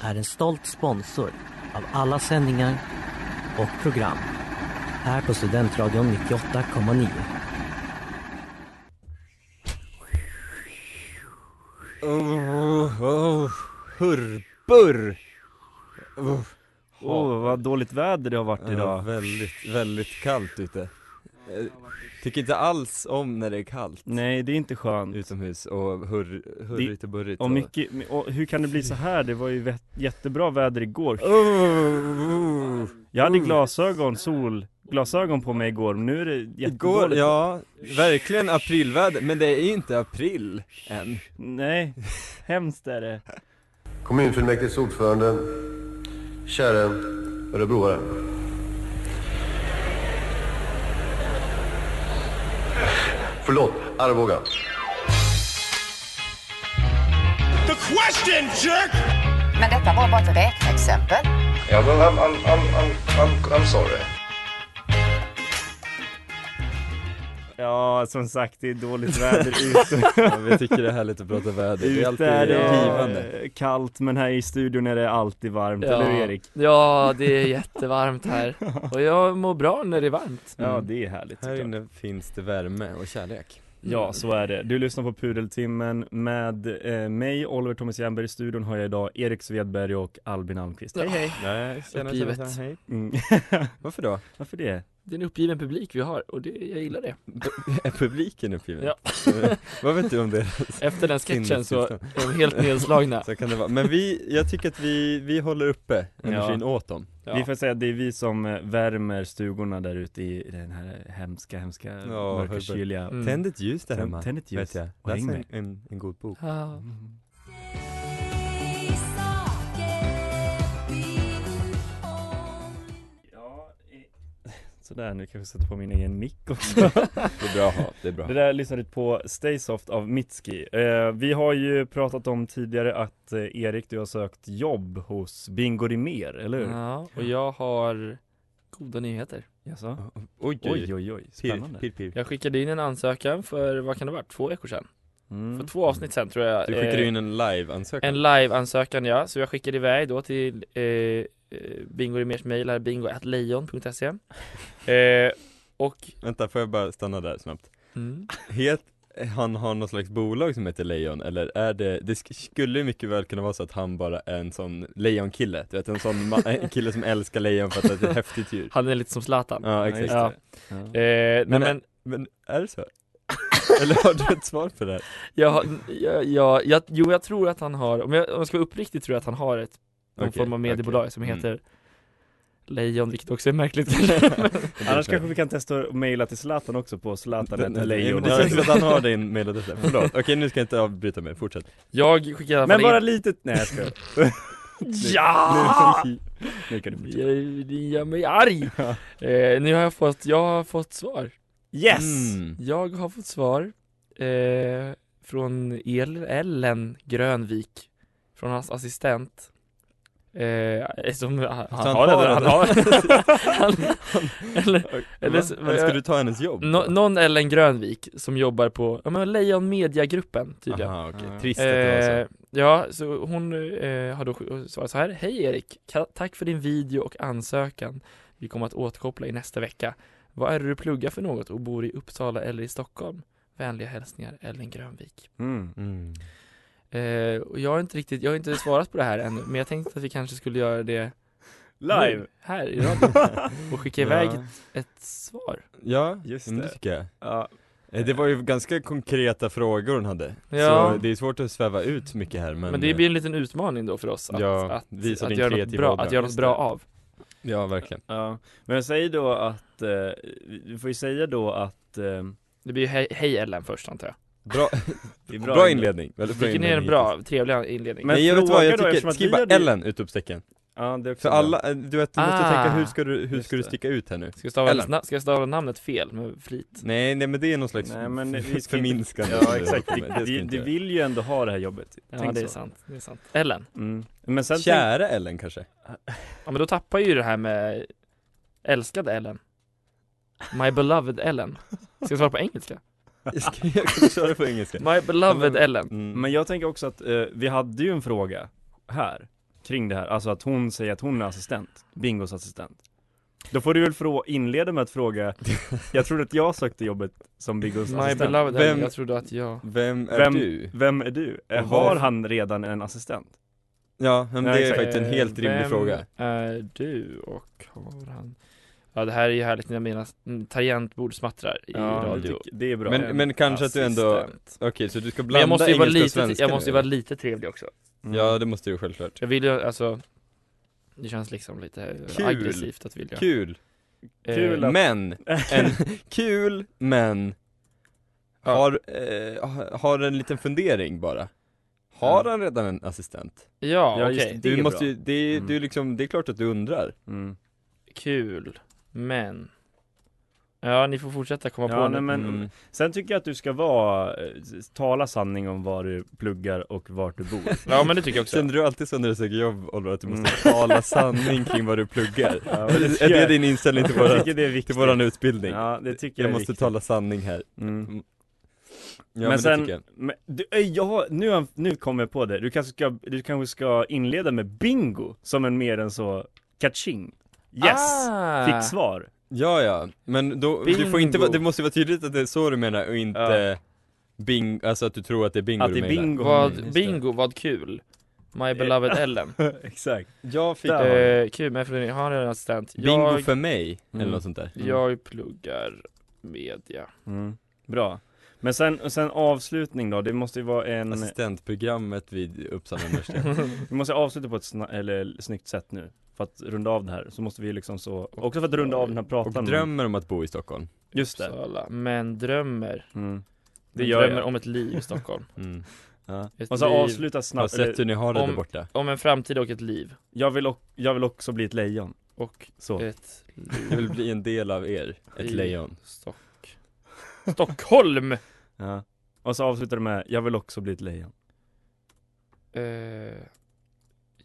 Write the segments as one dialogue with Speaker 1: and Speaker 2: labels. Speaker 1: är en stolt sponsor av alla sändningar och program här på Studentradion 98,9.
Speaker 2: Oh, oh, hurrbur! Oh,
Speaker 3: Åh, vad dåligt väder det har varit
Speaker 2: ja,
Speaker 3: idag.
Speaker 2: väldigt, väldigt kallt ute. Eh, Tycker inte alls om när det är kallt
Speaker 3: Nej, det är inte skönt.
Speaker 2: utomhus och hurr, hurrigt och burrigt.
Speaker 3: Och mycket, och hur kan det bli så här? Det var ju vett- jättebra väder igår.
Speaker 2: Oh, oh.
Speaker 3: Jag hade glasögon, solglasögon på mig igår, men nu är det
Speaker 2: Igår,
Speaker 3: jättedåligt.
Speaker 2: ja, verkligen aprilväder, men det är inte april än.
Speaker 3: Nej, hemskt är det.
Speaker 4: Kommunfullmäktiges ordförande, käre örebroare. Förlåt, Arboga.
Speaker 5: The question, jerk!
Speaker 6: Men detta var bara ett räkneexempel.
Speaker 4: Ja, men I'm, I'm, I'm, I'm, I'm, I'm sorry.
Speaker 3: Ja, som sagt, det är dåligt väder ute.
Speaker 2: Ja, vi tycker det är härligt att prata väder, det är alltid
Speaker 3: Ute är
Speaker 2: givande.
Speaker 3: det eh, kallt, men här i studion är det alltid varmt. Eller hur Erik?
Speaker 7: Ja, det är jättevarmt här. Och jag mår bra när det är varmt. Mm.
Speaker 3: Ja, det är härligt.
Speaker 2: Mm. Här
Speaker 3: såklart.
Speaker 2: inne finns det värme och kärlek.
Speaker 3: Ja, så är det. Du lyssnar på Pudeltimmen med eh, mig, Oliver Thomas Jernberg. I studion har jag idag Erik Svedberg och Albin Almqvist. Hej, hej.
Speaker 2: Nej, tjena, tjena,
Speaker 7: Uppgivet.
Speaker 2: tjena, hej.
Speaker 3: Mm.
Speaker 2: Varför då?
Speaker 3: Varför det?
Speaker 7: Det är en uppgiven publik vi har och det, jag gillar det.
Speaker 2: Är publiken uppgiven?
Speaker 7: Ja.
Speaker 2: Vad vet du om det?
Speaker 7: Efter den sketchen så är
Speaker 2: Sinnestillstånd.
Speaker 7: de helt nedslagna.
Speaker 2: Så kan det vara. Men vi, jag tycker att vi, vi håller uppe energin
Speaker 3: Ja.
Speaker 2: åt dem.
Speaker 7: Ja.
Speaker 3: Vi får säga att det är vi som eh, värmer stugorna där ute i den här hemska, hemska,
Speaker 2: Ja,
Speaker 3: mörka,
Speaker 2: Herbert.
Speaker 3: kyliga.
Speaker 7: Mm.
Speaker 2: Tänd ett ljus där
Speaker 3: Tänd-
Speaker 2: hemma.
Speaker 3: tänd ett ljus
Speaker 2: Vet jag.
Speaker 3: och häng
Speaker 2: Läs en,
Speaker 3: med.
Speaker 2: en, en god bok.
Speaker 7: Ah.
Speaker 3: Mm. Ja, eh, Sådär, nu kanske jag sätter på min egen mick också.
Speaker 2: Det är bra att ha, det är bra.
Speaker 3: Det där lyssnade du på Stay Soft av Mitski. Eh, vi har ju pratat om tidigare att eh, Erik, du har sökt jobb hos Bingo Rimér, eller hur?
Speaker 7: Ja, och jag har goda nyheter.
Speaker 3: Jaså?
Speaker 2: Oj,
Speaker 3: Oj, oj, oj,
Speaker 2: Pirr,
Speaker 3: spännande.
Speaker 2: pirr, pirr.
Speaker 7: Jag skickade in en ansökan för, vad kan det ha varit, två veckor sedan?
Speaker 3: Mm.
Speaker 7: För två avsnitt sedan tror jag.
Speaker 2: Du skickade
Speaker 7: eh,
Speaker 2: ju in en live-ansökan.
Speaker 7: En live-ansökan ja, så jag skickade iväg då till eh, eh, Bingo Rimérs mejl här, bingo.lejon.se eh, Och
Speaker 2: Vänta, får jag bara stanna där snabbt?
Speaker 7: mm,
Speaker 2: Het, han har något slags bolag som heter Lejon, eller är det, det sk- skulle ju mycket väl kunna vara så att han bara är en sån lejonkille, du vet en sån ma- en kille som älskar lejon för att det är ett häftigt djur.
Speaker 7: han är lite som Zlatan
Speaker 2: Ja,
Speaker 3: Ja, just
Speaker 2: exakt.
Speaker 3: det.
Speaker 7: Ja.
Speaker 3: Ja.
Speaker 7: Eh, nej
Speaker 2: Men-
Speaker 7: men,
Speaker 2: Men är det så? Eller har du ett svar på det här?
Speaker 7: jag, har- jag, jag, jag, jo jag tror att han har, om jag, om jag ska vara uppriktig tror jag att han har ett, någon
Speaker 2: Okej,
Speaker 7: form av
Speaker 2: okej.
Speaker 7: mediebolag som
Speaker 2: Mm.
Speaker 7: heter Lejon, vilket också är märkligt
Speaker 3: Eh, Annars kanske vi kan testa att mejla till Zlatan också på
Speaker 2: Ja, det känns som
Speaker 3: zlatan.lejon
Speaker 2: att han har din mailadress där. Förlåt, okej nu ska jag inte avbryta mig, fortsätt
Speaker 7: Jag skickar i alla
Speaker 3: Men
Speaker 7: fall
Speaker 3: bara
Speaker 7: in,
Speaker 3: litet, nej jag skojar.
Speaker 7: Ja!
Speaker 3: Nu- Nu kan du fortsätta.
Speaker 7: Jag, det gör mig arg! eh, nu har jag fått, jag har fått svar
Speaker 3: Yes!
Speaker 2: Mm.
Speaker 7: Jag har fått svar eh, från El- Ellen Grönvik, från hans assistent. Eh, som, han, han,
Speaker 2: han
Speaker 7: har
Speaker 2: har
Speaker 7: redan, han
Speaker 2: det?
Speaker 7: har han, Eller, eller,
Speaker 2: Eller,
Speaker 7: så-
Speaker 2: eller ska du ta hennes jobb?
Speaker 7: nå- någon Ellen Grönvik som jobbar på, ja men Lejon Mediagruppen tydligen.
Speaker 2: Aha, okej.
Speaker 3: Ja.
Speaker 2: Trist att det var
Speaker 7: typ, Eh, ja, så hon eh, har då sk- svarat så här. Hej Erik, ka- tack för din video och ansökan. Vi kommer att återkoppla i nästa vecka. Vad är det du pluggar för något och bor i Uppsala eller i Stockholm? Vänliga hälsningar Ellen Grönvik.
Speaker 3: Mm.
Speaker 2: så mm.
Speaker 7: Eh, och jag har inte riktigt, jag har inte svarat på det här ännu, men jag tänkte att vi kanske skulle göra det
Speaker 3: Live!
Speaker 7: nu, här i radion och skicka iväg
Speaker 2: ja.
Speaker 7: ett svar.
Speaker 2: Ja,
Speaker 3: Just
Speaker 2: men det
Speaker 3: det.
Speaker 2: tycker jag
Speaker 3: Ja.
Speaker 2: Eh, Det var ju ganska konkreta frågor hon hade,
Speaker 7: Ja.
Speaker 2: så det är svårt att sväva ut mycket här men, eh,
Speaker 7: Men det blir en liten utmaning då för oss att,
Speaker 2: Ja,
Speaker 7: att,
Speaker 2: visa
Speaker 7: att,
Speaker 2: din
Speaker 7: göra något
Speaker 2: kreativa
Speaker 7: bra,
Speaker 2: ådra.
Speaker 7: att göra något
Speaker 2: Just
Speaker 7: bra
Speaker 2: det.
Speaker 7: av.
Speaker 2: eh, Ja verkligen
Speaker 3: Ja, men säg då att, eh, vi får ju säga då att eh,
Speaker 7: Det blir ju hej, hej Ellen först antar jag.
Speaker 2: Bra,
Speaker 3: det är
Speaker 2: bra, inledning, väldigt bra
Speaker 7: Vilken
Speaker 2: inledning
Speaker 7: är en bra, trevlig inledning?
Speaker 2: Men
Speaker 3: Men
Speaker 2: Nej, jag vet
Speaker 3: fråga
Speaker 2: vad, jag
Speaker 3: då, eftersom
Speaker 2: tycker,
Speaker 3: att
Speaker 2: skriv
Speaker 3: vi
Speaker 2: bara
Speaker 3: hade-
Speaker 2: Ellen! Utropstecken
Speaker 3: Ja, det är också
Speaker 2: För
Speaker 3: bra.
Speaker 2: alla, eh, du vet, du måste
Speaker 7: Ah.
Speaker 2: tänka hur ska du, hur
Speaker 3: Just
Speaker 2: ska du
Speaker 3: det.
Speaker 2: sticka ut här nu?
Speaker 7: Ska jag stava,
Speaker 2: Ellen.
Speaker 7: na, ska jag stava namnet fel med flit?
Speaker 2: Nej, nej men det är någon slags
Speaker 3: Nej, men vi ska inte-
Speaker 2: förminskande
Speaker 3: Ja exakt,
Speaker 2: det, ska vi
Speaker 3: vi,
Speaker 2: inte
Speaker 3: vi
Speaker 2: göra.
Speaker 3: vill ju ändå ha det här jobbet
Speaker 7: Ja
Speaker 3: Tänk
Speaker 7: det är
Speaker 3: så.
Speaker 7: sant, det är sant. Ellen,
Speaker 3: mm. Men sen tänk,
Speaker 2: Kära Ellen kanske?
Speaker 7: ja men då tappar ju det här med älskade Ellen. My beloved Ellen. Ska jag svara på engelska?
Speaker 2: Jag ska, jag ska köra på engelska
Speaker 7: My beloved Ellen.
Speaker 2: mm.
Speaker 3: men jag tänker också att eh, vi hade ju en fråga här Kring det här, alltså att hon säger att hon är assistent, Bingos assistent Då får du väl frå- inleda med att fråga Jag trodde att jag sökte jobbet som Bingos
Speaker 7: My
Speaker 3: assistent
Speaker 7: beloved
Speaker 2: Vem-
Speaker 7: Ellen, jag trodde att jag...
Speaker 2: Vem är
Speaker 3: Vem-
Speaker 2: du?
Speaker 3: Vem är du? Eh,
Speaker 2: Och
Speaker 3: Har
Speaker 2: varför-
Speaker 3: han redan en assistent?
Speaker 2: Ja, men
Speaker 3: Ja,
Speaker 2: det är
Speaker 3: exakt. Eh,
Speaker 2: faktiskt en helt rimlig
Speaker 7: Vem
Speaker 2: fråga
Speaker 7: är du och har han? Ja det här är ju härligt när mina mm, tangentbord smattrar i
Speaker 3: Ja, det
Speaker 7: radio.
Speaker 3: tycker- det är bra
Speaker 2: Men- men kanske att du ändå-
Speaker 7: Assistent.
Speaker 2: Okej, så du ska
Speaker 7: Men jag
Speaker 2: blanda
Speaker 7: måste ju vara
Speaker 2: engelska och
Speaker 7: lite,
Speaker 2: svenska
Speaker 7: jag
Speaker 2: nu,
Speaker 7: måste ju vara
Speaker 2: eller?
Speaker 7: lite trevlig också.
Speaker 3: Mm.
Speaker 2: Ja, det måste du självklart
Speaker 7: Jag vill ju alltså, det känns liksom lite
Speaker 2: Kul.
Speaker 7: aggressivt att vilja.
Speaker 2: Kul!
Speaker 7: Eh,
Speaker 3: Kul att-
Speaker 2: Men, en, kul men har, eh, ha- har en liten fundering bara Har han redan en assistent?
Speaker 7: Ja,
Speaker 3: Ja,
Speaker 7: okej.
Speaker 3: just det.
Speaker 2: Du
Speaker 3: är
Speaker 2: måste
Speaker 3: bra.
Speaker 2: ju, det, är-
Speaker 3: Mm.
Speaker 2: du liksom, det är klart att du undrar
Speaker 3: Mm.
Speaker 7: Kul, men. Ja, ni får fortsätta komma på
Speaker 3: Ja, nej,
Speaker 7: nu.
Speaker 3: men,
Speaker 2: Mm.
Speaker 3: Sen tycker jag att du ska vara, eh, tala sanning om var du pluggar och vart du bor
Speaker 7: Ja, men det tycker jag också.
Speaker 2: Känner du alltid så när du söker jobb Oliver att du måste
Speaker 3: Mm.
Speaker 2: tala sanning kring vad du pluggar?
Speaker 3: Ja, men
Speaker 2: Är det din inställning till,
Speaker 3: Jag
Speaker 2: våra,
Speaker 3: tycker det är
Speaker 2: till
Speaker 3: viktigt
Speaker 2: våran utbildning?
Speaker 3: Ja det tycker jag,
Speaker 2: jag
Speaker 3: är
Speaker 2: måste
Speaker 3: viktigt.
Speaker 2: tala sanning här
Speaker 3: mm.
Speaker 2: Ja men,
Speaker 3: men,
Speaker 2: det
Speaker 3: sen,
Speaker 2: tycker jag
Speaker 3: men, du, ej, jag, har- nu, har- nu kommer jag på det, du kanske ska, du kanske ska inleda med bingo som en mer än så, catching Yes!
Speaker 7: Ah.
Speaker 3: Fick svar!
Speaker 2: Ja ja, men då, du får inte,
Speaker 7: Bingo.
Speaker 2: vara- det måste vara tydligt att det är så du menar och inte bing, alltså att du tror att det är bingo
Speaker 3: Att
Speaker 2: du
Speaker 3: det
Speaker 2: menar
Speaker 3: är bingo Mm,
Speaker 7: Vad,
Speaker 3: just det. Eh.
Speaker 7: bingo, vad kul. My beloved Ellen.
Speaker 3: Exakt
Speaker 2: Jag fick
Speaker 3: Där.
Speaker 2: eh,
Speaker 7: Eh, kul med fundering, har ni en assistent?
Speaker 2: bingo
Speaker 7: jag,
Speaker 2: för mig,
Speaker 3: Mm.
Speaker 2: eller något sånt där
Speaker 3: Mm.
Speaker 7: jag pluggar media
Speaker 3: mm. Bra Men sen, och sen avslutning då, det måste ju vara en,
Speaker 2: Assistentprogrammet vid Uppsala universitet
Speaker 3: vi måste avsluta på ett sna, eller, snyggt sätt nu För att runda av det här, så måste vi liksom så, också för att runda av den här
Speaker 2: Och
Speaker 3: pratan
Speaker 2: drömmer om att bo i Stockholm
Speaker 3: Just det
Speaker 7: Uppsala, men drömmer
Speaker 3: Mm. Det
Speaker 7: men
Speaker 3: gör
Speaker 7: Drömmer
Speaker 3: jag.
Speaker 7: om ett liv i Stockholm
Speaker 2: mm.
Speaker 3: Ja.
Speaker 7: Ett
Speaker 3: Och så
Speaker 7: liv.
Speaker 3: avsluta
Speaker 2: Har
Speaker 3: snabbt,
Speaker 2: sett hur
Speaker 3: eller,
Speaker 2: ni har det där
Speaker 7: om-
Speaker 2: borta?
Speaker 7: Om en framtid och ett liv
Speaker 3: jag, vill och, jag vill också bli ett lejon
Speaker 7: Och
Speaker 3: Så,
Speaker 7: ett
Speaker 2: Jag vill bli en del av er, ett
Speaker 7: I-
Speaker 2: lejon
Speaker 7: Stock Stockholm!
Speaker 3: ja. Och så avslutar du med, jag vill också bli ett lejon
Speaker 7: Eh, jag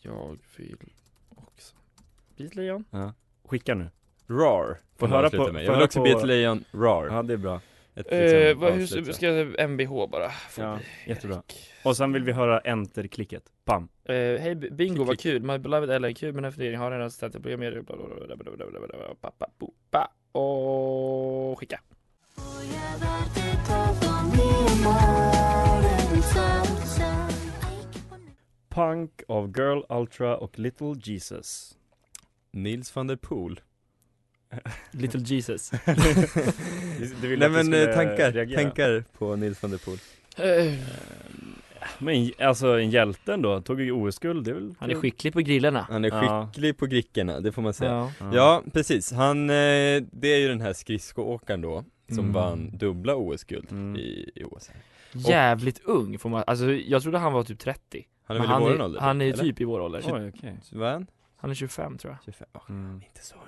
Speaker 7: vill också bli ett
Speaker 3: Liksom
Speaker 7: lejon
Speaker 3: Skicka nu
Speaker 2: Rar,
Speaker 3: Får
Speaker 2: får
Speaker 3: höra
Speaker 2: höra
Speaker 3: på-
Speaker 2: på, med.
Speaker 3: får
Speaker 2: Jag vill
Speaker 3: höra
Speaker 2: också
Speaker 3: på-
Speaker 2: bli ett lejon, rar
Speaker 3: Ja det är bra,
Speaker 2: Ett
Speaker 7: eh,
Speaker 2: liksom
Speaker 7: vad,
Speaker 2: avslut,
Speaker 7: hur
Speaker 2: så.
Speaker 7: ska jag, MBH bara får
Speaker 3: ja,
Speaker 7: bli.
Speaker 3: jättebra Och sen vill vi höra enter-klicket, pam
Speaker 7: Eh, Hej B- Bingo, vad kul! My beloved Ellen, kul med en fundering, har en assistent, jag blir med bla, bla, bla, bla, bla, bla, bla, bla, bla, pa, pa, pa, pa. och skicka!
Speaker 3: Punk av Girl Ultra och Little Jesus
Speaker 2: Nils van der Poel
Speaker 7: Little Jesus
Speaker 3: Du ville
Speaker 2: Nej
Speaker 3: att
Speaker 2: men
Speaker 3: vi skulle
Speaker 2: eh, tankar,
Speaker 3: reagera.
Speaker 2: tankar på Nils van der Poel Eh,
Speaker 3: Eh, Men alltså en hjälte ändå, tog ju OS-guld, det är väl
Speaker 2: eh.
Speaker 7: Han är skicklig på grillarna
Speaker 2: Han är
Speaker 3: Ja.
Speaker 2: skicklig på grickorna, det får man säga
Speaker 7: ja.
Speaker 2: Ja, precis, han, eh, det är ju den här skridskoåkaren då Som
Speaker 3: Mm.
Speaker 2: vann dubbla OS-guld
Speaker 3: Mm.
Speaker 2: i, i OS
Speaker 7: Jävligt ung får man, alltså jag trodde han var typ 30
Speaker 2: Han är
Speaker 7: Men
Speaker 2: väl i våran
Speaker 7: är,
Speaker 2: ålder?
Speaker 7: han är
Speaker 2: eller?
Speaker 7: typ i vår ålder
Speaker 3: Oj, okej
Speaker 2: Vad är han?
Speaker 7: Han är 25 tror jag
Speaker 2: 25? Åh,
Speaker 3: Mm.
Speaker 2: inte så ung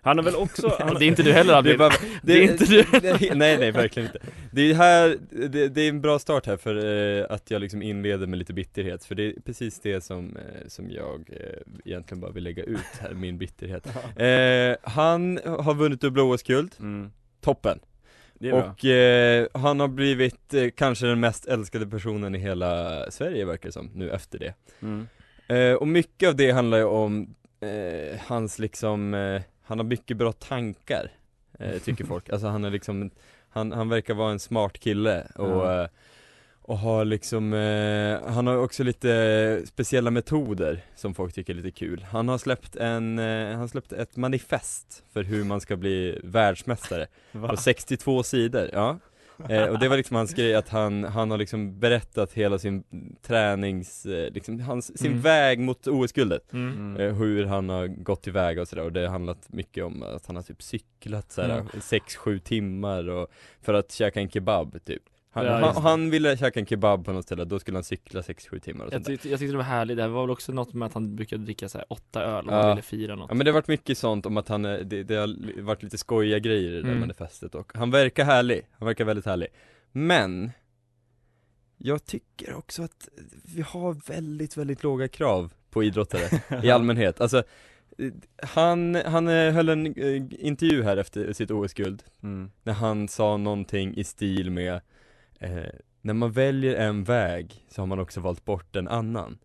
Speaker 3: Han har väl också, han,
Speaker 7: Det är inte du heller
Speaker 2: Det
Speaker 7: Albin
Speaker 2: är, bara,
Speaker 7: Det är inte du.
Speaker 2: Nej, Nej nej verkligen inte Det är här, det, det är en bra start här för eh, att jag liksom inleder med lite bitterhet För det är precis det som, eh, som jag eh, egentligen bara vill lägga ut här, min bitterhet eh, Han har vunnit dubbla OS-guld,
Speaker 3: mm.
Speaker 2: toppen!
Speaker 3: Det är bra
Speaker 2: Och eh, han har blivit eh, kanske den mest älskade personen i hela Sverige verkar det som, nu efter det
Speaker 3: mm.
Speaker 2: Eh, och mycket av det handlar ju om eh, hans liksom, eh, han har mycket bra tankar, eh, tycker folk. Alltså han är liksom, han, han verkar vara en smart kille och,
Speaker 3: Ja.
Speaker 2: eh, och har liksom, eh, han har också lite eh, speciella metoder som folk tycker är lite kul. Han har släppt en, eh, han släppte ett manifest för hur man ska bli världsmästare
Speaker 3: Va?
Speaker 2: på 62 sidor, ja. Eh, och det var liksom hans grej att han, han har liksom berättat hela sin tränings, eh, liksom hans, sin
Speaker 7: Mm.
Speaker 2: väg mot OS-guldet
Speaker 7: Mm.
Speaker 3: Mm.
Speaker 2: Eh, hur han har gått tillväga och sådär och det har handlat mycket om att han har typ cyklat såhär 6-7 timmar och för att käka en kebab typ han,
Speaker 7: Ja, just
Speaker 2: han,
Speaker 7: det.
Speaker 2: han ville käka en kebab på något ställe, då skulle han cykla 6-7 timmar och
Speaker 7: Jag,
Speaker 2: sånt där.
Speaker 7: tyckte, jag tyckte det var härligt, det här var väl också något med att han brukade dricka så här åtta öl om
Speaker 2: Ja.
Speaker 7: han ville fira något
Speaker 2: Ja men det har varit mycket sånt om att han, eh, det, det har li- varit lite skojiga grejer i det där
Speaker 7: Mm.
Speaker 2: manifestet och han verkar härlig, han verkar väldigt härlig Men Jag tycker också att vi har väldigt, väldigt låga krav på idrottare i allmänhet. Alltså, eh, han, han eh, höll en eh, intervju här efter sitt OS-guld,
Speaker 3: Mm.
Speaker 2: när han sa någonting i stil med eh, När man väljer en väg så har man också valt bort en annan.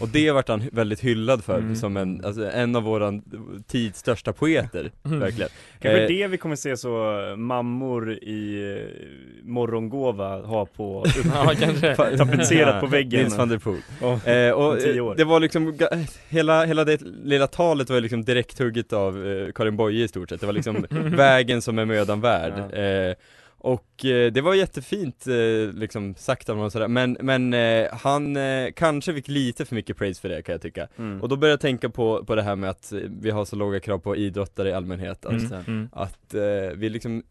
Speaker 2: Och det vart han hy- väldigt hyllad för,
Speaker 7: Mm.
Speaker 2: som en, alltså, en av våran tids största poeter,
Speaker 7: Mm.
Speaker 3: Mm.
Speaker 2: verkligen.
Speaker 3: Kanske
Speaker 2: Eh,
Speaker 3: det vi kommer se så eh, mammor i eh, morgongåva ha på,
Speaker 7: Ja kanske Mm.
Speaker 2: fa-
Speaker 3: tapetserat på väggen.
Speaker 2: Nils van der Poel.
Speaker 3: Ja.
Speaker 2: Eh, och
Speaker 3: Om tio
Speaker 2: eh,
Speaker 3: år.
Speaker 2: det var liksom, ga- hela, hela det lilla talet var ju liksom direkthugget av eh, Karin Boye i stort sett, det var liksom vägen som är mödan värd eh, Och eh, det var jättefint eh, liksom sagt av honom sådär, men, men eh, han eh, kanske fick lite för mycket praise för det kan jag tycka
Speaker 3: Mm.
Speaker 2: Och då började jag tänka på, på det här med att eh, vi har så låga krav på idrottare i allmänhet, Alltså, att,
Speaker 7: Mm, mm.
Speaker 2: att eh, vi liksom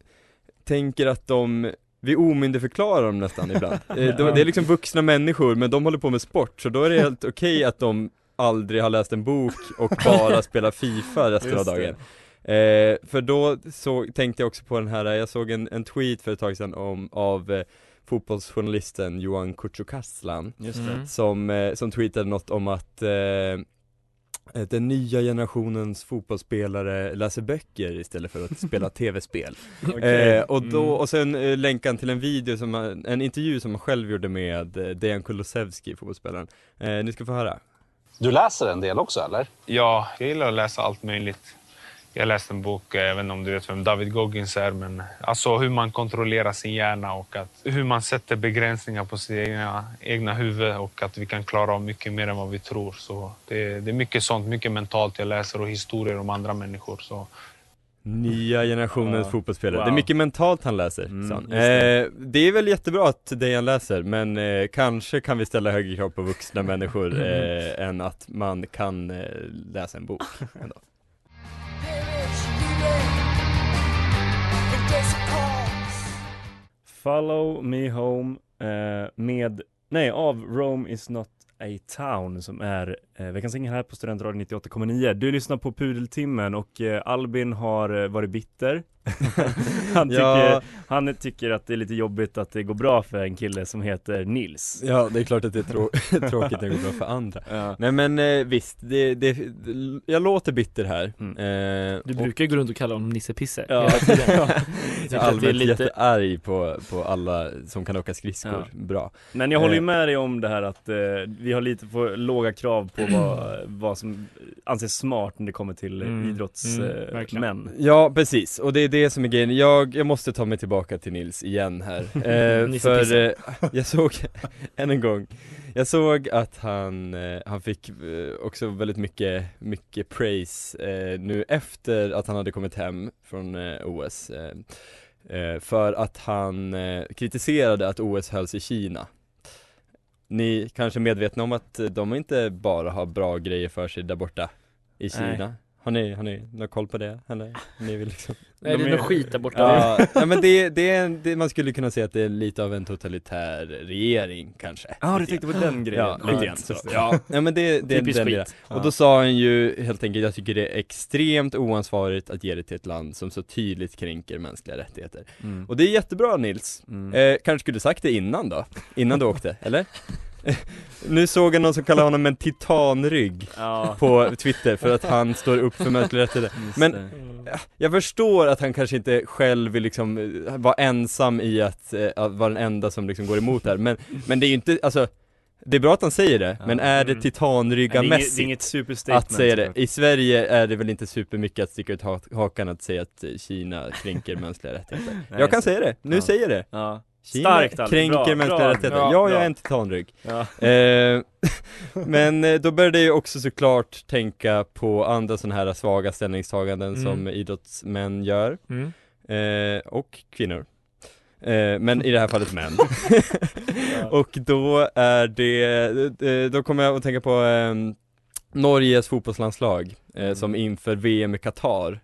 Speaker 2: tänker att de vi omyndigförklarar dem nästan ibland. Eh, de, det är liksom vuxna människor men de håller på med sport så då är det helt okej att de aldrig har läst en bok och bara spelar Fifa resten av
Speaker 3: Just det.
Speaker 2: dagen. Eh, för då så tänkte jag också på den här, jag såg en, en tweet för ett tag sedan om, av eh, fotbollsjournalisten Johan Kücükaslan
Speaker 3: Just det.
Speaker 7: Mm.
Speaker 2: som, eh, som tweetade något om att eh, att den nya generationens fotbollsspelare läser böcker istället för att spela tv-spel.
Speaker 3: Okej.
Speaker 2: Eh, och, då,
Speaker 7: Mm.
Speaker 2: och sen eh, länkan till en video, som han, en intervju som han själv gjorde med eh, Dejan Kulusevski, fotbollsspelaren. Eh, ni ska få höra.
Speaker 8: Du läser en del också, eller?
Speaker 5: Ja, jag gillar att läsa allt möjligt. Jag läste en bok, eh, även om du vet vem David Goggins är, men alltså hur man kontrollerar sin hjärna och att, hur man sätter begränsningar på sina egna, egna huvud och att vi kan klara av mycket mer än vad vi tror. Så det, det är mycket sånt, mycket mentalt jag läser och historier om andra människor. Så
Speaker 2: Nya generationens
Speaker 3: Ja.
Speaker 2: fotbollsspelare.
Speaker 3: Wow.
Speaker 2: Det är mycket mentalt han läser,
Speaker 3: Mm,
Speaker 2: sa han.
Speaker 3: just det.
Speaker 2: Eh, det är väl jättebra att Dejan läser, men eh, kanske kan vi ställa högre krav på vuxna människor
Speaker 3: Mm.
Speaker 2: eh, än att man kan eh, läsa en bok. Ändå.
Speaker 3: Follow me home eh, med, nej av Rome is not a town som är eh, veckans singel här på Studentradion 98,9. Du lyssnar på Pudeltimmen och eh, Albin har eh, varit bitter. han, tycker,
Speaker 2: Ja.
Speaker 3: han tycker att det är lite jobbigt att det går bra för en kille som heter Nils.
Speaker 2: Ja, det är klart att det är trå- tråkigt när det går bra för andra. Nej men eh, visst, det, det, jag låter bitter här.
Speaker 3: Mm.
Speaker 2: Eh,
Speaker 7: Du
Speaker 2: och-
Speaker 7: brukar ju gå runt och kalla honom nissepisse
Speaker 2: Ja,
Speaker 7: hela tiden.
Speaker 2: jag
Speaker 7: tycker
Speaker 2: är
Speaker 7: att det är
Speaker 2: allmänt
Speaker 7: lite-
Speaker 2: jättearg på, på alla som kan åka skridskor.
Speaker 3: Ja.
Speaker 2: Bra.
Speaker 3: Men jag håller ju
Speaker 2: Eh.
Speaker 3: med dig om det här att eh, vi har lite för låga krav på vad, vad som anses smart när det kommer till eh,
Speaker 7: Mm. Mm, verkligen.
Speaker 3: idrottsmän.
Speaker 2: Ja, precis. Och det är det som är grejen. Jag, jag måste ta mig tillbaka till Nils igen här. Eh,
Speaker 7: Nisse
Speaker 2: för
Speaker 7: Pisse.
Speaker 2: eh, jag såg, än en gång, jag såg att han, eh, han fick eh, också väldigt mycket, mycket praise eh, nu efter att han hade kommit hem från eh, OS. Eh, eh, för att han eh, kritiserade att OS hölls i Kina. Ni kanske är medvetna om att eh, de inte bara har bra grejer för sig där borta i
Speaker 7: Nej.
Speaker 2: Kina. Har ni, har ni någon koll på det? Eller ni vill liksom
Speaker 7: Nej det
Speaker 3: De
Speaker 7: är
Speaker 3: är-
Speaker 7: något skit där borta
Speaker 2: Ja, ja men det, det är en, det, man skulle kunna säga att det är lite av en totalitär regering kanske
Speaker 3: Ja, du tänkte på den grejen?
Speaker 2: Ja,
Speaker 3: lite
Speaker 2: lite grann
Speaker 3: grann.
Speaker 2: så. Ja, nej, men det, det är
Speaker 7: Typiskt
Speaker 2: den lilla.
Speaker 7: skit.
Speaker 2: Och då sa han ju helt enkelt, jag tycker det är extremt oansvarigt att ge det till ett land som så tydligt kränker mänskliga rättigheter
Speaker 3: Mm.
Speaker 2: Och det är jättebra Nils,
Speaker 3: Mm.
Speaker 2: eh, kanske skulle sagt det innan då? Innan du åkte, eller? nu såg jag någon som kallar honom en titanrygg
Speaker 3: Ja,
Speaker 2: på Twitter för att han står upp för mänskliga rättigheter
Speaker 3: just
Speaker 2: Men-
Speaker 3: det.
Speaker 2: jag förstår att han kanske inte själv vill liksom eh, vara ensam i att, eh, att vara den enda som liksom går emot det här, men, men det är ju inte, alltså Det är bra att han säger det,
Speaker 3: Ja.
Speaker 2: men är det
Speaker 3: Nej,
Speaker 7: Mm.
Speaker 3: det, är inget, det är
Speaker 2: titanryggamässigt
Speaker 3: inget superstatement
Speaker 2: att säga det?
Speaker 3: såklart.
Speaker 2: I Sverige är det väl inte supermycket att sticka ut ha- hakan att säga att eh, Kina kränker mänskliga rättigheter
Speaker 3: Nej,
Speaker 2: Jag kan
Speaker 3: så-
Speaker 2: säga det, nu
Speaker 3: Ja.
Speaker 2: säger jag det!
Speaker 3: ja.
Speaker 2: Kina
Speaker 3: Starkt, Albin.
Speaker 2: kränker
Speaker 3: Bra,
Speaker 2: mänskliga
Speaker 3: bra,
Speaker 2: rättigheter,
Speaker 3: bra,
Speaker 2: ja jag
Speaker 3: bra.
Speaker 2: är en titanrygg
Speaker 3: Ja.
Speaker 2: Eh, Men eh, då började jag ju också såklart tänka på andra sådana här svaga ställningstaganden
Speaker 7: Mm.
Speaker 2: som idrottsmän gör
Speaker 7: Mm.
Speaker 2: Eh, och kvinnor. Eh, men i det här fallet män. och då är det, eh, då kommer jag att tänka på ehm, Norges fotbollslandslag
Speaker 3: Mm.
Speaker 2: eh, som inför VM i Qatar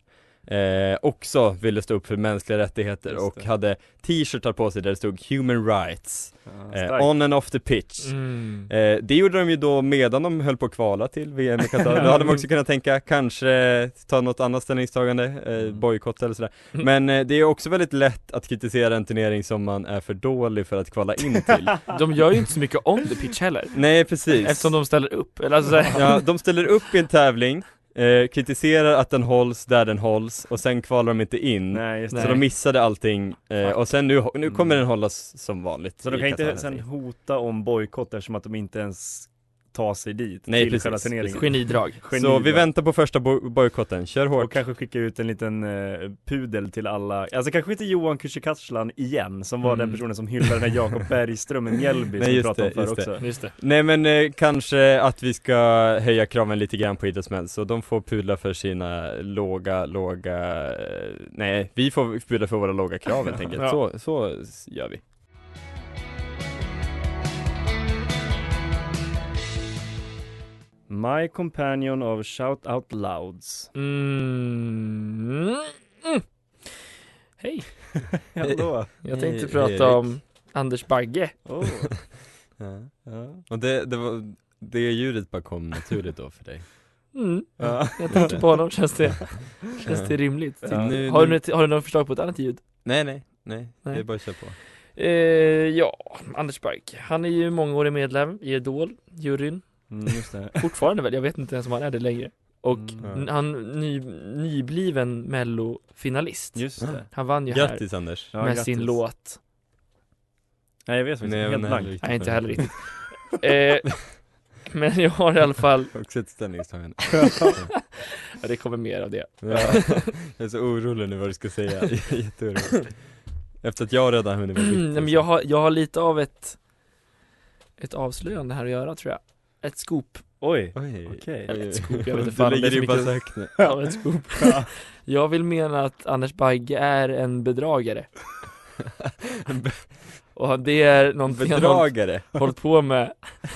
Speaker 2: eh, också ville stå upp för mänskliga rättigheter
Speaker 3: Just
Speaker 2: och
Speaker 3: det.
Speaker 2: hade t-shirtar på sig där det stod 'Human Rights' eh,
Speaker 3: Starkt.
Speaker 2: On and off the pitch
Speaker 7: Mm.
Speaker 2: Eh, det gjorde de ju då medan de höll på att kvala till VM i Qatar. Då hade man också kunnat tänka kanske ta något annat ställningstagande,
Speaker 3: Mm.
Speaker 2: eh, bojkott eller sådär. Men eh, det är också väldigt lätt att kritisera en turnering som man är för dålig för att kvala in till.
Speaker 3: Eh.
Speaker 7: De gör ju inte så mycket on the pitch heller.
Speaker 2: Nej precis.
Speaker 7: Eftersom de ställer upp. Eller alltså, så här-
Speaker 2: Ja, de ställer upp i en tävling, eh, kritiserar att den hålls där den hålls och sen kvalar de inte in.
Speaker 3: Nej, just
Speaker 2: Så
Speaker 3: det.
Speaker 2: de missade allting eh, och sen nu, nu kommer den hållas som vanligt
Speaker 3: Så de
Speaker 2: i
Speaker 3: kan
Speaker 2: Qatar,
Speaker 3: inte
Speaker 2: helt
Speaker 3: sen
Speaker 2: enkelt.
Speaker 3: hota om bojkott eftersom att de inte ens tar sig dit
Speaker 2: Nej,
Speaker 3: till
Speaker 2: precis,
Speaker 3: själva turneringen.
Speaker 7: Genidrag.
Speaker 3: Geni
Speaker 2: Så vi
Speaker 3: där.
Speaker 2: väntar på första boj- bojkotten, kör hårt.
Speaker 3: Och kanske skicka ut en liten eh, pudel till alla, alltså kanske inte Johan Kücükaslan igen, som var
Speaker 7: Mm.
Speaker 3: den personen som hyllade den här Jakob Bergström i Mjällby
Speaker 2: Nej,
Speaker 3: som vi
Speaker 2: just
Speaker 3: pratade om
Speaker 2: det,
Speaker 3: förr
Speaker 2: just det.
Speaker 3: också.
Speaker 7: Just det.
Speaker 2: Nej men eh, kanske att vi ska höja kraven lite grann på idrottsmän, så de får pudla för sina låga, låga, eh, nej vi får pudla för våra låga krav helt enkelt,
Speaker 7: Ja.
Speaker 2: så, så s- gör vi.
Speaker 3: My Companion of Shout Out Louds.
Speaker 7: Mm. Mm. Hej,
Speaker 3: Hallå!
Speaker 7: jag tänkte
Speaker 2: Hej,
Speaker 7: prata
Speaker 2: Erik.
Speaker 7: om Anders Bagge.
Speaker 3: Oh.
Speaker 2: Ja.
Speaker 3: Ja.
Speaker 2: Och det, det, var, det ljudet bara kom naturligt då för dig.
Speaker 7: Mm.
Speaker 3: Ja.
Speaker 7: Jag tänker på honom, känns det, känns det rimligt?
Speaker 2: Ja. Nu-
Speaker 7: Har, du,
Speaker 2: nu-
Speaker 7: något- har du något förslag på ett annat ljud?
Speaker 2: Nej nej, nej,
Speaker 7: Nej.
Speaker 2: det är bara att köra på.
Speaker 7: Eh, ja, Anders Bagge. Han är ju mångårig medlem i Idol, juryn,
Speaker 3: Mm, just det.
Speaker 7: fortfarande väl, jag vet inte ens om han är det längre. Och
Speaker 3: Mm.
Speaker 7: n- han ny, nybliven mellofinalist.
Speaker 3: Just det.
Speaker 7: Han vann ju här
Speaker 2: Grattis Anders!
Speaker 3: Ja,
Speaker 7: med
Speaker 3: grattis.
Speaker 7: sin låt.
Speaker 3: Nej jag vet faktiskt,
Speaker 2: Nej, men
Speaker 3: helt blank.
Speaker 2: heller
Speaker 7: Nej, inte heller riktigt. eh, men jag har i alla fall,
Speaker 2: Också ett ställningstagande.
Speaker 7: ja, det kommer mer av det.
Speaker 2: Ja. Jag är så orolig nu vad du ska säga, Jag är jätteorolig. Efter att jag redan hunnit vara bitter,
Speaker 7: Mm, Nej men
Speaker 2: så-
Speaker 7: jag har, jag har lite av ett Ett avslöjande här att göra tror jag Ett scoop,
Speaker 3: Oj!
Speaker 2: Oj.
Speaker 3: Okej.
Speaker 7: Eller ett scoop, jag vet inte fan om
Speaker 2: Du
Speaker 7: det är
Speaker 2: lägger
Speaker 7: så
Speaker 2: i bara
Speaker 7: mycket-
Speaker 2: sagt nu.
Speaker 7: ja, ett scoop. Jag vill mena att Anders Bagge är en bedragare Och det är någonting han har
Speaker 2: Bedragare?
Speaker 7: hållit på med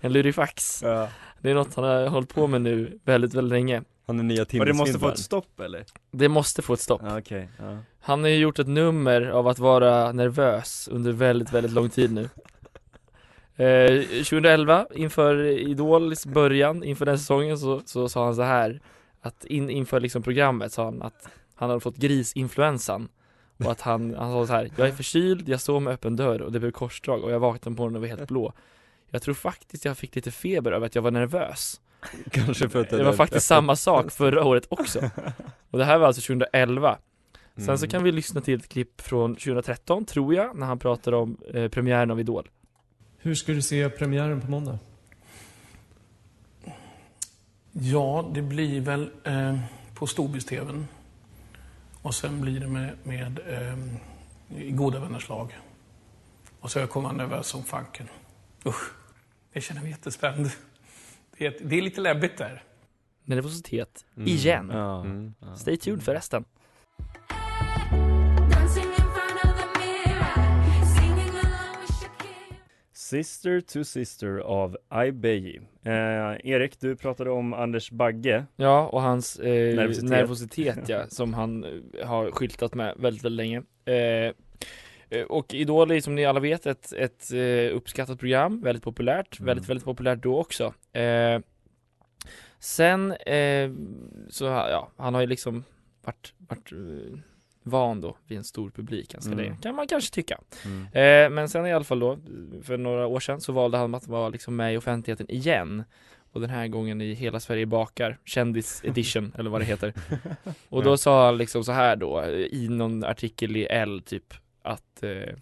Speaker 7: En lurifax
Speaker 3: Ja.
Speaker 7: Det är något han har hållit på med nu väldigt, väldigt länge
Speaker 2: Han är nya
Speaker 3: Och det måste få
Speaker 2: Tinder-svindlaren.
Speaker 3: ett stopp eller?
Speaker 7: Det måste få ett stopp
Speaker 3: Ja, okej. Ja.
Speaker 7: Han har ju gjort ett nummer av att vara nervös under väldigt, väldigt lång tid nu eh, 2011, inför Idols början, inför den säsongen så, så sa han så här Att in, inför liksom programmet sa han att han hade fått grisinfluensan Och att han, han sa så här Jag är förkyld, jag sov med öppen dörr och det blev korsdrag och jag vaknade på morgonen och var helt blå Jag tror faktiskt jag fick lite feber över att jag var nervös
Speaker 2: Kanske för att
Speaker 7: Det var faktiskt samma sak förra året också Och det här var alltså 2011
Speaker 2: Mm.
Speaker 7: Sen så kan vi lyssna till ett klipp från 2013, tror jag, när han pratar om eh, premiären av Idol.
Speaker 5: Hur ska du se premiären på måndag?
Speaker 9: Ja, det blir väl eh, på Storbys-TVn. Och sen blir det med, med eh, i goda vänners lag. Och så jag kommer vara nervös som fanken. Usch, jag känner mig jättespänd. Det är, det är lite läbbigt där.
Speaker 7: Nervositet,
Speaker 2: Mm.
Speaker 7: igen. Mm.
Speaker 3: Ja.
Speaker 7: Stay tuned för resten.
Speaker 3: Sister to Sister av Ibeji. Eh, Erik, du pratade om Anders Bagge.
Speaker 7: Ja, och hans eh, nervositet.
Speaker 3: Nervositet.
Speaker 7: ja, som han eh, har skyltat med väldigt, väldigt länge. Eh, eh, och Idol är som ni alla vet ett, ett eh, uppskattat program, väldigt populärt,
Speaker 3: Mm.
Speaker 7: väldigt, väldigt populärt då också. Eh, sen, eh, så ja, han har ju liksom varit, varit eh, van då vid en stor publik ganska
Speaker 3: Mm.
Speaker 7: länge, kan man kanske tycka.
Speaker 2: Mm.
Speaker 7: Eh, men sen i alla fall då, för några år sedan så valde han att vara liksom med i offentligheten igen. Och den här gången i Hela Sverige bakar, kändis edition eller vad det heter. Och då sa han liksom så här då, eh, i någon artikel i L typ, att eh,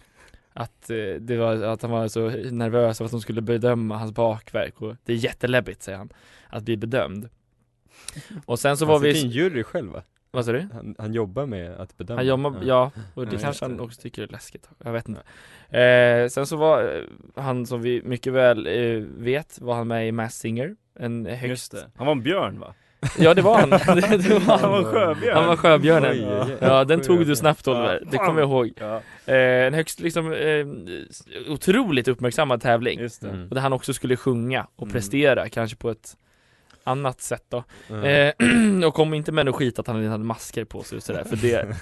Speaker 7: att, eh, det var, att han var så nervös över att de skulle bedöma hans bakverk och det är jätteläbbigt säger han, att bli bedömd. Och sen så var
Speaker 2: Han sitter i
Speaker 7: vi,
Speaker 2: en jury själv va?
Speaker 7: vad sa du?
Speaker 2: Han, han jobbar med att bedöma.
Speaker 7: Han jobbar, ja, och det
Speaker 3: just
Speaker 7: kanske han
Speaker 3: det.
Speaker 7: också tycker är läskigt, jag vet inte eh, Sen så var eh, han som vi mycket väl eh, vet, var han med i Mass Singer En högst,
Speaker 3: Just det. Han var en björn va?
Speaker 7: Ja det var han, det, det var
Speaker 3: Han var
Speaker 7: han
Speaker 3: sjöbjörn!
Speaker 7: Han var sjöbjörnen
Speaker 2: Oj, oj, oj.
Speaker 7: Ja den tog du snabbt Oliver,
Speaker 3: Ja.
Speaker 7: det kommer jag ihåg
Speaker 3: Ja,
Speaker 7: eh, En högst liksom eh, otroligt uppmärksammad tävling
Speaker 3: just det.
Speaker 2: Mm.
Speaker 7: Och där han också skulle sjunga och
Speaker 3: Mm.
Speaker 7: prestera, kanske på ett annat sätt då
Speaker 2: Mm.
Speaker 7: eh, Och kom inte med något skit att han hade masker på sig och sådär, för det,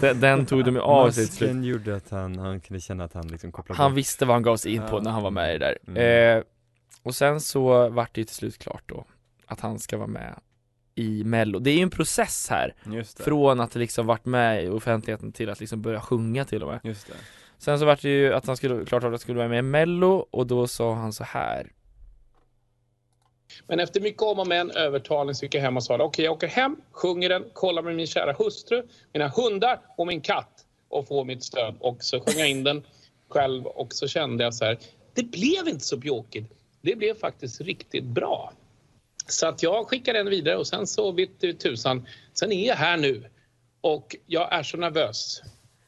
Speaker 7: den, den tog de ju av sig till slut
Speaker 2: Masken gjorde att han, han kunde känna att han liksom kopplade
Speaker 7: Han
Speaker 2: bort.
Speaker 7: visste vad han gav sig in på
Speaker 3: Ja.
Speaker 7: när han var med i det där
Speaker 2: Mm.
Speaker 7: eh, Och sen så vart det ju till slut klart då Att han ska vara med i mello, det är ju en process här
Speaker 3: Just det.
Speaker 7: Från att liksom varit med i offentligheten till att liksom börja sjunga till och med
Speaker 3: Just det.
Speaker 7: Sen så vart det ju att han skulle, klart att han skulle vara med i mello och då sa han så här
Speaker 5: Men efter mycket om och men, övertalning, så gick jag hem och sa okej, jag åker hem, sjunger den, kollar med min kära hustru, mina hundar och min katt och får mitt stöd. Och så sjöng jag in den själv och så kände jag så här, det blev inte så bjåkigt. Det blev faktiskt riktigt bra. Så att jag skickade den vidare och sen så vitt i tusan, sen är jag här nu och jag är så nervös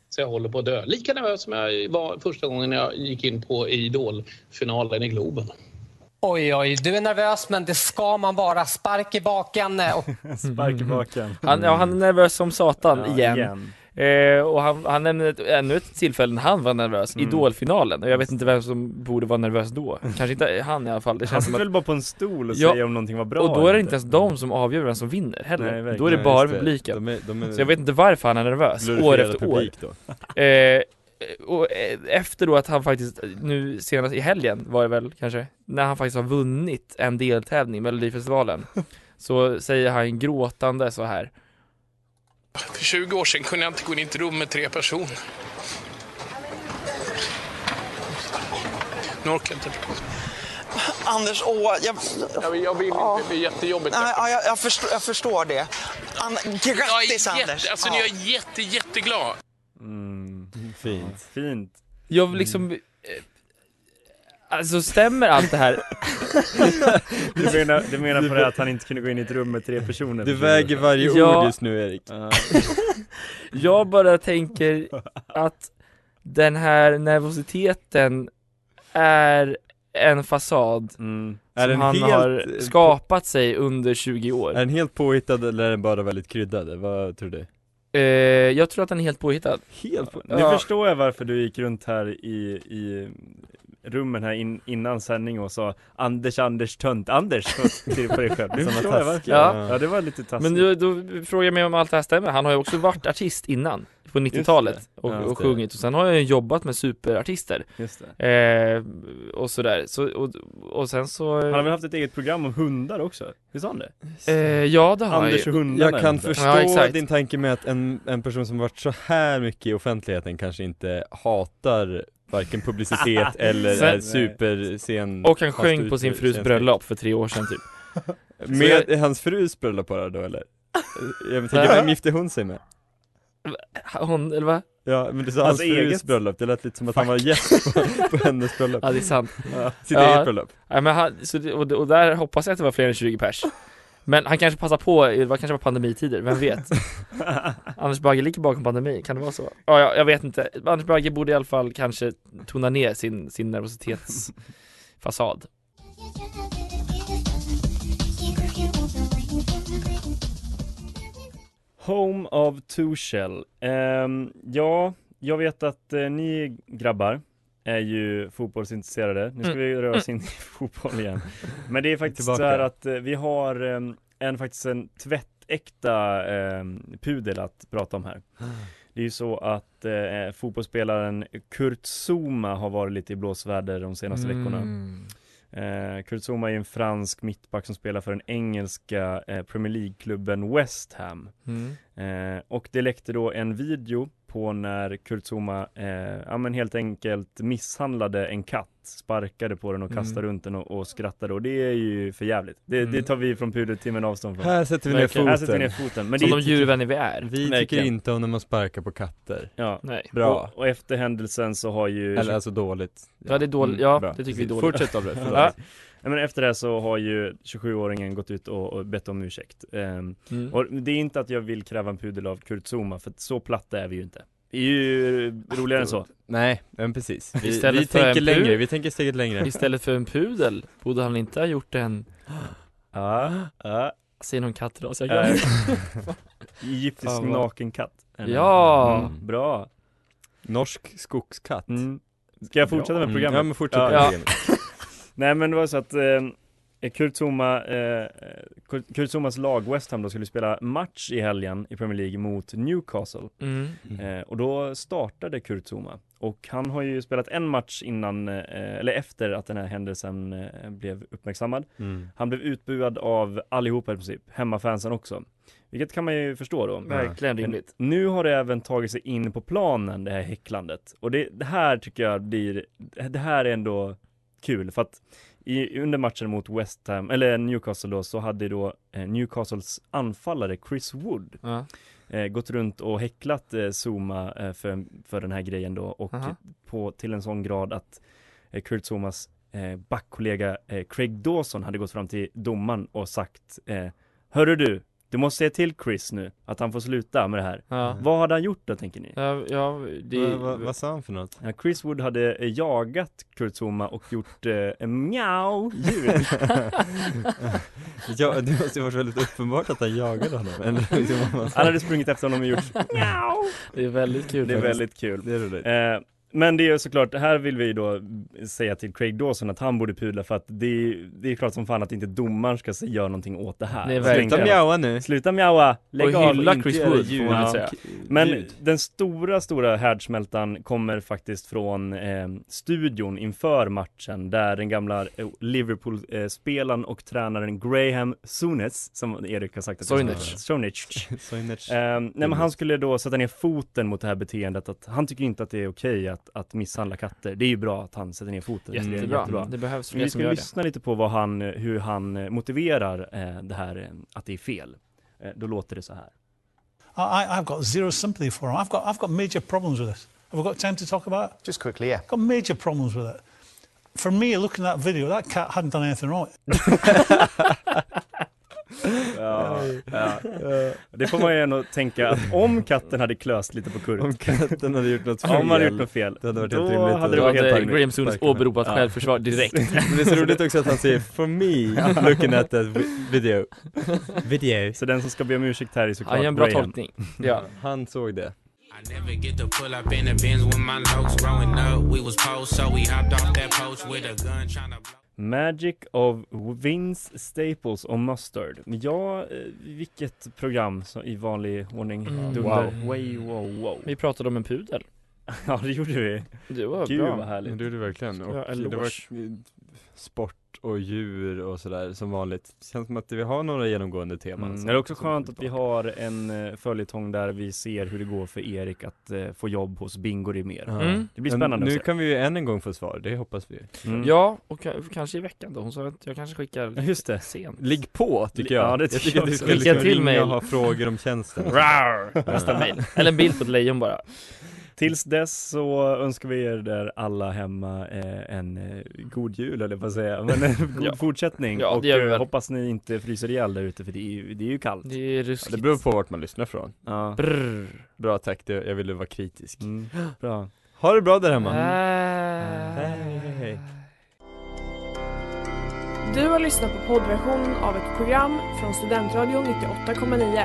Speaker 5: så jag håller på att dö. Lika nervös som jag var första gången jag gick in på Idol-finalen i Globen.
Speaker 10: Oj, oj, du är nervös, men det ska man vara. Spark i baken. eh, Och
Speaker 3: Spark i baken.
Speaker 7: Han, Mm. ja, han är nervös som satan
Speaker 3: Mm. Ja,
Speaker 7: igen, Eh, och han, han nämnde ett, ännu ett tillfälle när han var nervös,
Speaker 3: Mm.
Speaker 7: Idolfinalen, och jag vet inte vem som borde vara nervös då Kanske inte han i alla fall, det
Speaker 3: Han
Speaker 7: känns som
Speaker 3: sitter
Speaker 7: att
Speaker 3: väl Alltså, bara på en stol och
Speaker 7: Ja,
Speaker 3: säger om någonting var bra
Speaker 7: Och då är
Speaker 3: eller
Speaker 7: det inte ens de som avgör vem som vinner
Speaker 3: Nej,
Speaker 7: heller,
Speaker 3: verkligen.
Speaker 7: då är det
Speaker 2: Ja,
Speaker 7: bara
Speaker 2: just
Speaker 7: publiken
Speaker 2: De är, de är
Speaker 7: Så jag vet inte varför han är nervös, år
Speaker 2: glorifierad
Speaker 7: efter
Speaker 2: publik då.
Speaker 7: år eh, Och eh, efter då att han faktiskt, nu senast i helgen var det väl kanske, när han faktiskt har vunnit en deltävling i Melodifestivalen Så säger han gråtande så här
Speaker 9: För 20 år sedan kunde jag inte gå in i ett rum med tre personer. Nu orkar jag inte.
Speaker 10: Anders, åh, jag,
Speaker 9: Jag vill, jag vill inte, det är jättejobbigt.
Speaker 10: nej, ja, jag, jag, förstår, jag förstår det. An,
Speaker 9: Jag
Speaker 10: grattis,
Speaker 9: är,
Speaker 10: Anders.
Speaker 9: jätte, alltså,
Speaker 10: Ja.
Speaker 9: jag är jätte, jätteglad.
Speaker 3: Mm.
Speaker 2: Fint.
Speaker 3: Fint.
Speaker 7: Jag vill liksom eh, Alltså stämmer allt det här?
Speaker 3: Du menar, du menar på det att han inte kunde gå in i ett rum med tre personer?
Speaker 2: Du väger varje
Speaker 7: Ja.
Speaker 2: ord just nu Erik.
Speaker 3: Ja.
Speaker 7: Jag bara tänker att den här nervositeten är en fasad
Speaker 3: Mm.
Speaker 2: Är
Speaker 7: som
Speaker 2: den
Speaker 7: han
Speaker 2: helt, eh,
Speaker 7: har skapat sig under 20
Speaker 2: Är
Speaker 7: år.
Speaker 2: den helt påhittad eller är den bara väldigt kryddad? Vad tror du?
Speaker 7: Eh, jag tror att den är helt påhittad.
Speaker 2: Helt på...
Speaker 3: Nu
Speaker 7: Ja.
Speaker 3: förstår jag varför du gick runt här i, i rummen här in, innan sändning och sa Anders, Anders, tönt, Anders på- till- på dig själv. Nu
Speaker 2: Som var
Speaker 3: förstår jag varför.
Speaker 2: taskig.
Speaker 7: Ja.
Speaker 3: Ja, det var lite taskigt.
Speaker 7: Men
Speaker 2: Alltså.
Speaker 7: då, då frågar jag mig om allt det här stämmer. Han har ju också varit artist innan, på 90-talet, och,
Speaker 2: Ja, just
Speaker 7: och
Speaker 2: det.
Speaker 7: sjungit. Och sen har han ju jobbat med superartister,
Speaker 3: Just det.
Speaker 7: eh, och sådär. Så, och, och sen så...
Speaker 3: Han har väl haft ett eget program om hundar också? Visst har han det?
Speaker 7: eh, ja, det har han ju.
Speaker 3: Anders och hundarna.
Speaker 2: Jag kan
Speaker 3: eller något
Speaker 2: förstå
Speaker 7: Ja, exakt.
Speaker 2: din tanke med att en, en person som varit så här mycket i offentligheten kanske inte hatar varken publicitet eller
Speaker 7: Sen-
Speaker 2: är superscen
Speaker 7: Och han
Speaker 2: fast
Speaker 7: sjöng på sin frus
Speaker 2: utkänslig.
Speaker 7: bröllop för tre år sedan typ
Speaker 2: Med hans frus bröllop bara då eller? Jag tänker, vem gifte hon sig med?
Speaker 7: Hon, eller va?
Speaker 2: Ja men du sa
Speaker 3: Hans
Speaker 2: hans, frus
Speaker 3: eget.
Speaker 2: bröllop, det lät lite som att han var gäst på, på hennes bröllop
Speaker 7: Ja det är sant
Speaker 2: Sitt
Speaker 7: Ja.
Speaker 2: eget bröllop
Speaker 7: Nej men han, så, det- och, och där hoppas jag att det var fler än 20 pers Men han kanske passar på, det var kanske var pandemitider, vem vet? Anders Bagge ligger bakom pandemin, kan det vara så? Ja, ja, jag vet inte, Anders Bagge borde i alla fall kanske tona ner sin, sin nervositetsfasad
Speaker 3: Home of Torshäll. Ehm, ja, jag vet att eh, ni grabbar är ju fotbollsintresserade. Nu ska vi röra oss in i fotboll igen. Men det är faktiskt
Speaker 2: Tillbaka.
Speaker 3: så här att eh, vi har ehm, en faktiskt en tvättäkta ehm, pudel att prata om här. Det är ju så att eh, fotbollsspelaren Kurt Zuma har varit lite i blåsväder de senaste
Speaker 2: Mm.
Speaker 7: Mm.
Speaker 3: veckorna. Eh, Kurt Zuma är en fransk mittback som spelar för den engelska eh, Premier League-klubben West Ham.
Speaker 7: mm.
Speaker 3: Eh, och det läckte då en video på när Kurt Zuma, eh, ja men helt enkelt misshandlade en katt, sparkade på den och
Speaker 7: Mm.
Speaker 3: kastade runt den och, och skrattade och det är ju för jävligt. Det,
Speaker 7: Mm.
Speaker 3: det tar vi från pudeltimmen avstånd från.
Speaker 2: Här sätter vi ner
Speaker 7: Verkligen.
Speaker 2: foten
Speaker 3: Här sätter vi ner foten. Men det
Speaker 7: Som
Speaker 3: är,
Speaker 7: de djurvänner vi är
Speaker 2: Vi tycker
Speaker 3: Verkligen.
Speaker 2: inte om när man sparkar på katter
Speaker 3: ja.
Speaker 7: Nej
Speaker 2: Bra.
Speaker 3: Och, och efter händelsen så har ju
Speaker 2: Eller alltså dåligt
Speaker 7: Ja det är dåligt,
Speaker 3: Mm,
Speaker 7: ja
Speaker 2: Bra.
Speaker 7: det tycker vi är
Speaker 2: Precis.
Speaker 7: dåligt
Speaker 2: Fortsätt Abbe, förlåt
Speaker 7: Ja.
Speaker 3: Nej, men efter det här så har ju 27-åringen gått ut och, och bett om ursäkt. Ehm,
Speaker 7: mm.
Speaker 3: och det är inte att jag vill kräva en pudel av Kurt Zuma för att så platta är vi ju inte. Det är ju roligare än så.
Speaker 2: Nej, men precis Vi,
Speaker 7: Istället
Speaker 2: vi
Speaker 7: för en
Speaker 2: tänker
Speaker 7: pur-
Speaker 2: längre, vi tänker steget längre Ah,
Speaker 7: Istället för en pudel borde han inte ha gjort en
Speaker 3: Ja, ja.
Speaker 7: Säg någon katt idag så jag
Speaker 3: Eh,
Speaker 7: glömmer.
Speaker 3: Egyptisk
Speaker 7: Fan, vad-
Speaker 3: nakenkatt Är det.
Speaker 7: Ja!
Speaker 3: Mm. Bra!
Speaker 2: Norsk skogskatt.
Speaker 3: Mm. Ska jag fortsätta med
Speaker 2: Mm.
Speaker 3: programmet?
Speaker 2: Ja, men fortsätt med programmet.
Speaker 3: Nej men det var så att eh, Kurtzuma, eh, Kurt- Kurtzumas lag West Ham då skulle spela match i helgen i Premier League mot Newcastle.
Speaker 7: Mm.
Speaker 3: Eh, och då startade Kurtzuma. Och han har ju spelat en match innan, eh, eller efter att den här händelsen eh, blev uppmärksammad.
Speaker 2: Mm.
Speaker 3: Han blev utbuad av allihopa i princip, hemmafansen också. Vilket kan man ju förstå då.
Speaker 7: Verkligen
Speaker 3: Men
Speaker 7: rimligt.
Speaker 3: Nu har det även tagit sig in på planen, det här häcklandet. Och det, det här tycker jag blir, det här är ändå kul för att i, under matchen mot West Ham, eller Newcastle då, så hade då eh, Newcastles anfallare Chris Wood
Speaker 7: Ja.
Speaker 3: eh, gått runt och häcklat eh, Zuma eh, för, för den här grejen då och
Speaker 7: Aha.
Speaker 3: på, till en sån grad att eh, Kurt Zumas eh, backkollega eh, Craig Dawson hade gått fram till domaren och sagt eh, Hörru du, du måste säga till Chris nu att han får sluta med det här.
Speaker 7: Ja.
Speaker 3: Vad hade han gjort då tänker ni?
Speaker 7: Ja, ja, det...
Speaker 2: Vad- vad- vad sa han för något?
Speaker 3: Ja, Chris Wood hade eh, jagat Kurt Zuma och gjort eh, en mjau-ljud.
Speaker 2: Ja, det måste ju varit väldigt uppenbart att han jagade honom. Eller, liksom, vad man sa.
Speaker 3: Han hade sprungit efter honom och gjort mjau.
Speaker 7: det är väldigt kul.
Speaker 3: Det är
Speaker 7: faktiskt.
Speaker 3: väldigt kul.
Speaker 2: det är roligt.
Speaker 3: Eh, men det är ju såklart, här vill vi ju då säga till Craig Dawson att han borde pudla för att det är, det är klart som fan att inte domaren ska se- göra någonting åt det här.
Speaker 7: Nej,
Speaker 3: Så
Speaker 7: verkligen.
Speaker 3: länge-
Speaker 2: Sluta mjaua nu.
Speaker 3: Sluta mjaua! Lägg
Speaker 7: Och
Speaker 3: av!
Speaker 7: hylla
Speaker 3: inte
Speaker 7: Chris
Speaker 3: göra
Speaker 7: Wood, får
Speaker 3: ljud.
Speaker 7: man väl
Speaker 3: Ja.
Speaker 7: säga.
Speaker 3: Men
Speaker 2: Ljud.
Speaker 3: den stora, stora härdsmältan kommer faktiskt från eh, studion inför matchen där den gamla eh, Liverpool-spelaren och tränaren Graham Souness, som Erik har sagt att jag ska-
Speaker 7: Souness.
Speaker 3: Souness.
Speaker 2: Soinage.
Speaker 3: Eh, nej men han skulle då sätta ner foten mot det här beteendet att han tycker inte att det är okej att, att misshandla katter. Det är ju bra att han sätter ner foten.
Speaker 2: Jättebra.
Speaker 3: Det är
Speaker 7: Jättebra. Mm. Det behövs
Speaker 3: Vi
Speaker 7: fler som
Speaker 3: ska
Speaker 7: gör det.
Speaker 3: lyssna lite på vad han, hur han eh, motiverar eh, det här eh, att det är fel. Eh, då låter det så här.
Speaker 11: I, I've got zero sympathy for him. I've got, I've got major problems with this. Have we got time to talk about it?
Speaker 8: Just quickly, yeah.
Speaker 11: I've got major problems with it. For me, looking at that video, that cat hadn't done anything wrong.
Speaker 3: Ja, ja. Det får man ju ändå tänka att om katten hade klöst lite på
Speaker 2: Om
Speaker 3: Kurt,
Speaker 2: katten hade gjort något fel.
Speaker 3: om han hade gjort något fel,
Speaker 2: Det hade varit
Speaker 3: då
Speaker 2: helt rimligt
Speaker 3: hade
Speaker 2: att-
Speaker 3: det
Speaker 7: Då
Speaker 3: varit helt
Speaker 7: hade
Speaker 3: rimligt.
Speaker 7: Graham Souness
Speaker 2: Sparkar man.
Speaker 7: åberopat
Speaker 3: Ja.
Speaker 7: självförsvar direkt.
Speaker 2: Men det är så roligt också att han säger 'for me' looking at that vi- video. Video.
Speaker 3: Så den som ska be om ursäkt här är
Speaker 7: Han
Speaker 3: såklart
Speaker 7: gör en bra
Speaker 3: Graham.
Speaker 7: tolkning. Ja.
Speaker 2: Han såg det.
Speaker 12: I never get to pull up in the bins with my locs growing up. We was post, so we hopped off that poach with a gun trying to blow.
Speaker 3: Magic of Vince Staples och Mustard. Ja, eh, vilket program så, i vanlig ordning.
Speaker 7: Mm,
Speaker 3: Dunder.
Speaker 7: wow.
Speaker 3: Way, wow, wow.
Speaker 7: Vi pratade om en pudel.
Speaker 3: Ja, det gjorde vi.
Speaker 7: Det var
Speaker 3: Gud
Speaker 7: bra.
Speaker 3: vad härligt.
Speaker 2: Det gjorde det verkligen.
Speaker 7: Ja,
Speaker 2: Och
Speaker 7: eloge.
Speaker 2: det var eh, sport och djur och sådär som vanligt. Känns som att vi har några genomgående teman.
Speaker 3: Mm.
Speaker 2: som-
Speaker 3: Det är också
Speaker 2: som
Speaker 3: skönt att vi
Speaker 2: tillbaka.
Speaker 3: har en eh, följetong där vi ser hur det går för Erik att eh, få jobb hos Bingo Rimér.
Speaker 2: Ja.
Speaker 7: Mm.
Speaker 3: Det blir
Speaker 2: Men
Speaker 3: spännande
Speaker 2: Nu
Speaker 3: att se.
Speaker 2: kan vi ju än en gång få svar, det hoppas vi.
Speaker 3: Mm.
Speaker 7: Ja, och ka- kanske i veckan då. Hon sa att jag kanske skickar lite
Speaker 3: Just det.
Speaker 7: sent.
Speaker 2: Ligg på tycker jag.
Speaker 3: Ja, det tycker jag
Speaker 2: du
Speaker 3: också.
Speaker 2: ska liksom
Speaker 7: Skicka till
Speaker 2: ringa
Speaker 7: mig.
Speaker 2: och ha frågor om tjänsten.
Speaker 3: Rar!
Speaker 7: Nästa mejl. Eller en bild på ett lejon bara.
Speaker 3: Tills dess så önskar vi er där alla hemma eh, en eh, god jul eller vad säger jag, men en god
Speaker 7: Ja.
Speaker 3: fortsättning
Speaker 7: Ja, det
Speaker 3: och
Speaker 7: gör vi
Speaker 3: eh,
Speaker 7: väl.
Speaker 3: hoppas ni inte fryser ihjäl där ute för det är, ju- det är ju kallt.
Speaker 7: Det är
Speaker 2: Ja,
Speaker 7: ruskigt.
Speaker 2: det beror på vart man lyssnar från.
Speaker 3: Ja.
Speaker 7: Brrr.
Speaker 2: Bra tack, det, jag ville vara kritisk.
Speaker 3: Mm. Bra.
Speaker 2: Ha det bra där
Speaker 7: Ah.
Speaker 2: hemma.
Speaker 7: Äh.
Speaker 2: Hej, hej.
Speaker 13: Du har lyssnat på poddversion av ett program från Studentradion 98,9.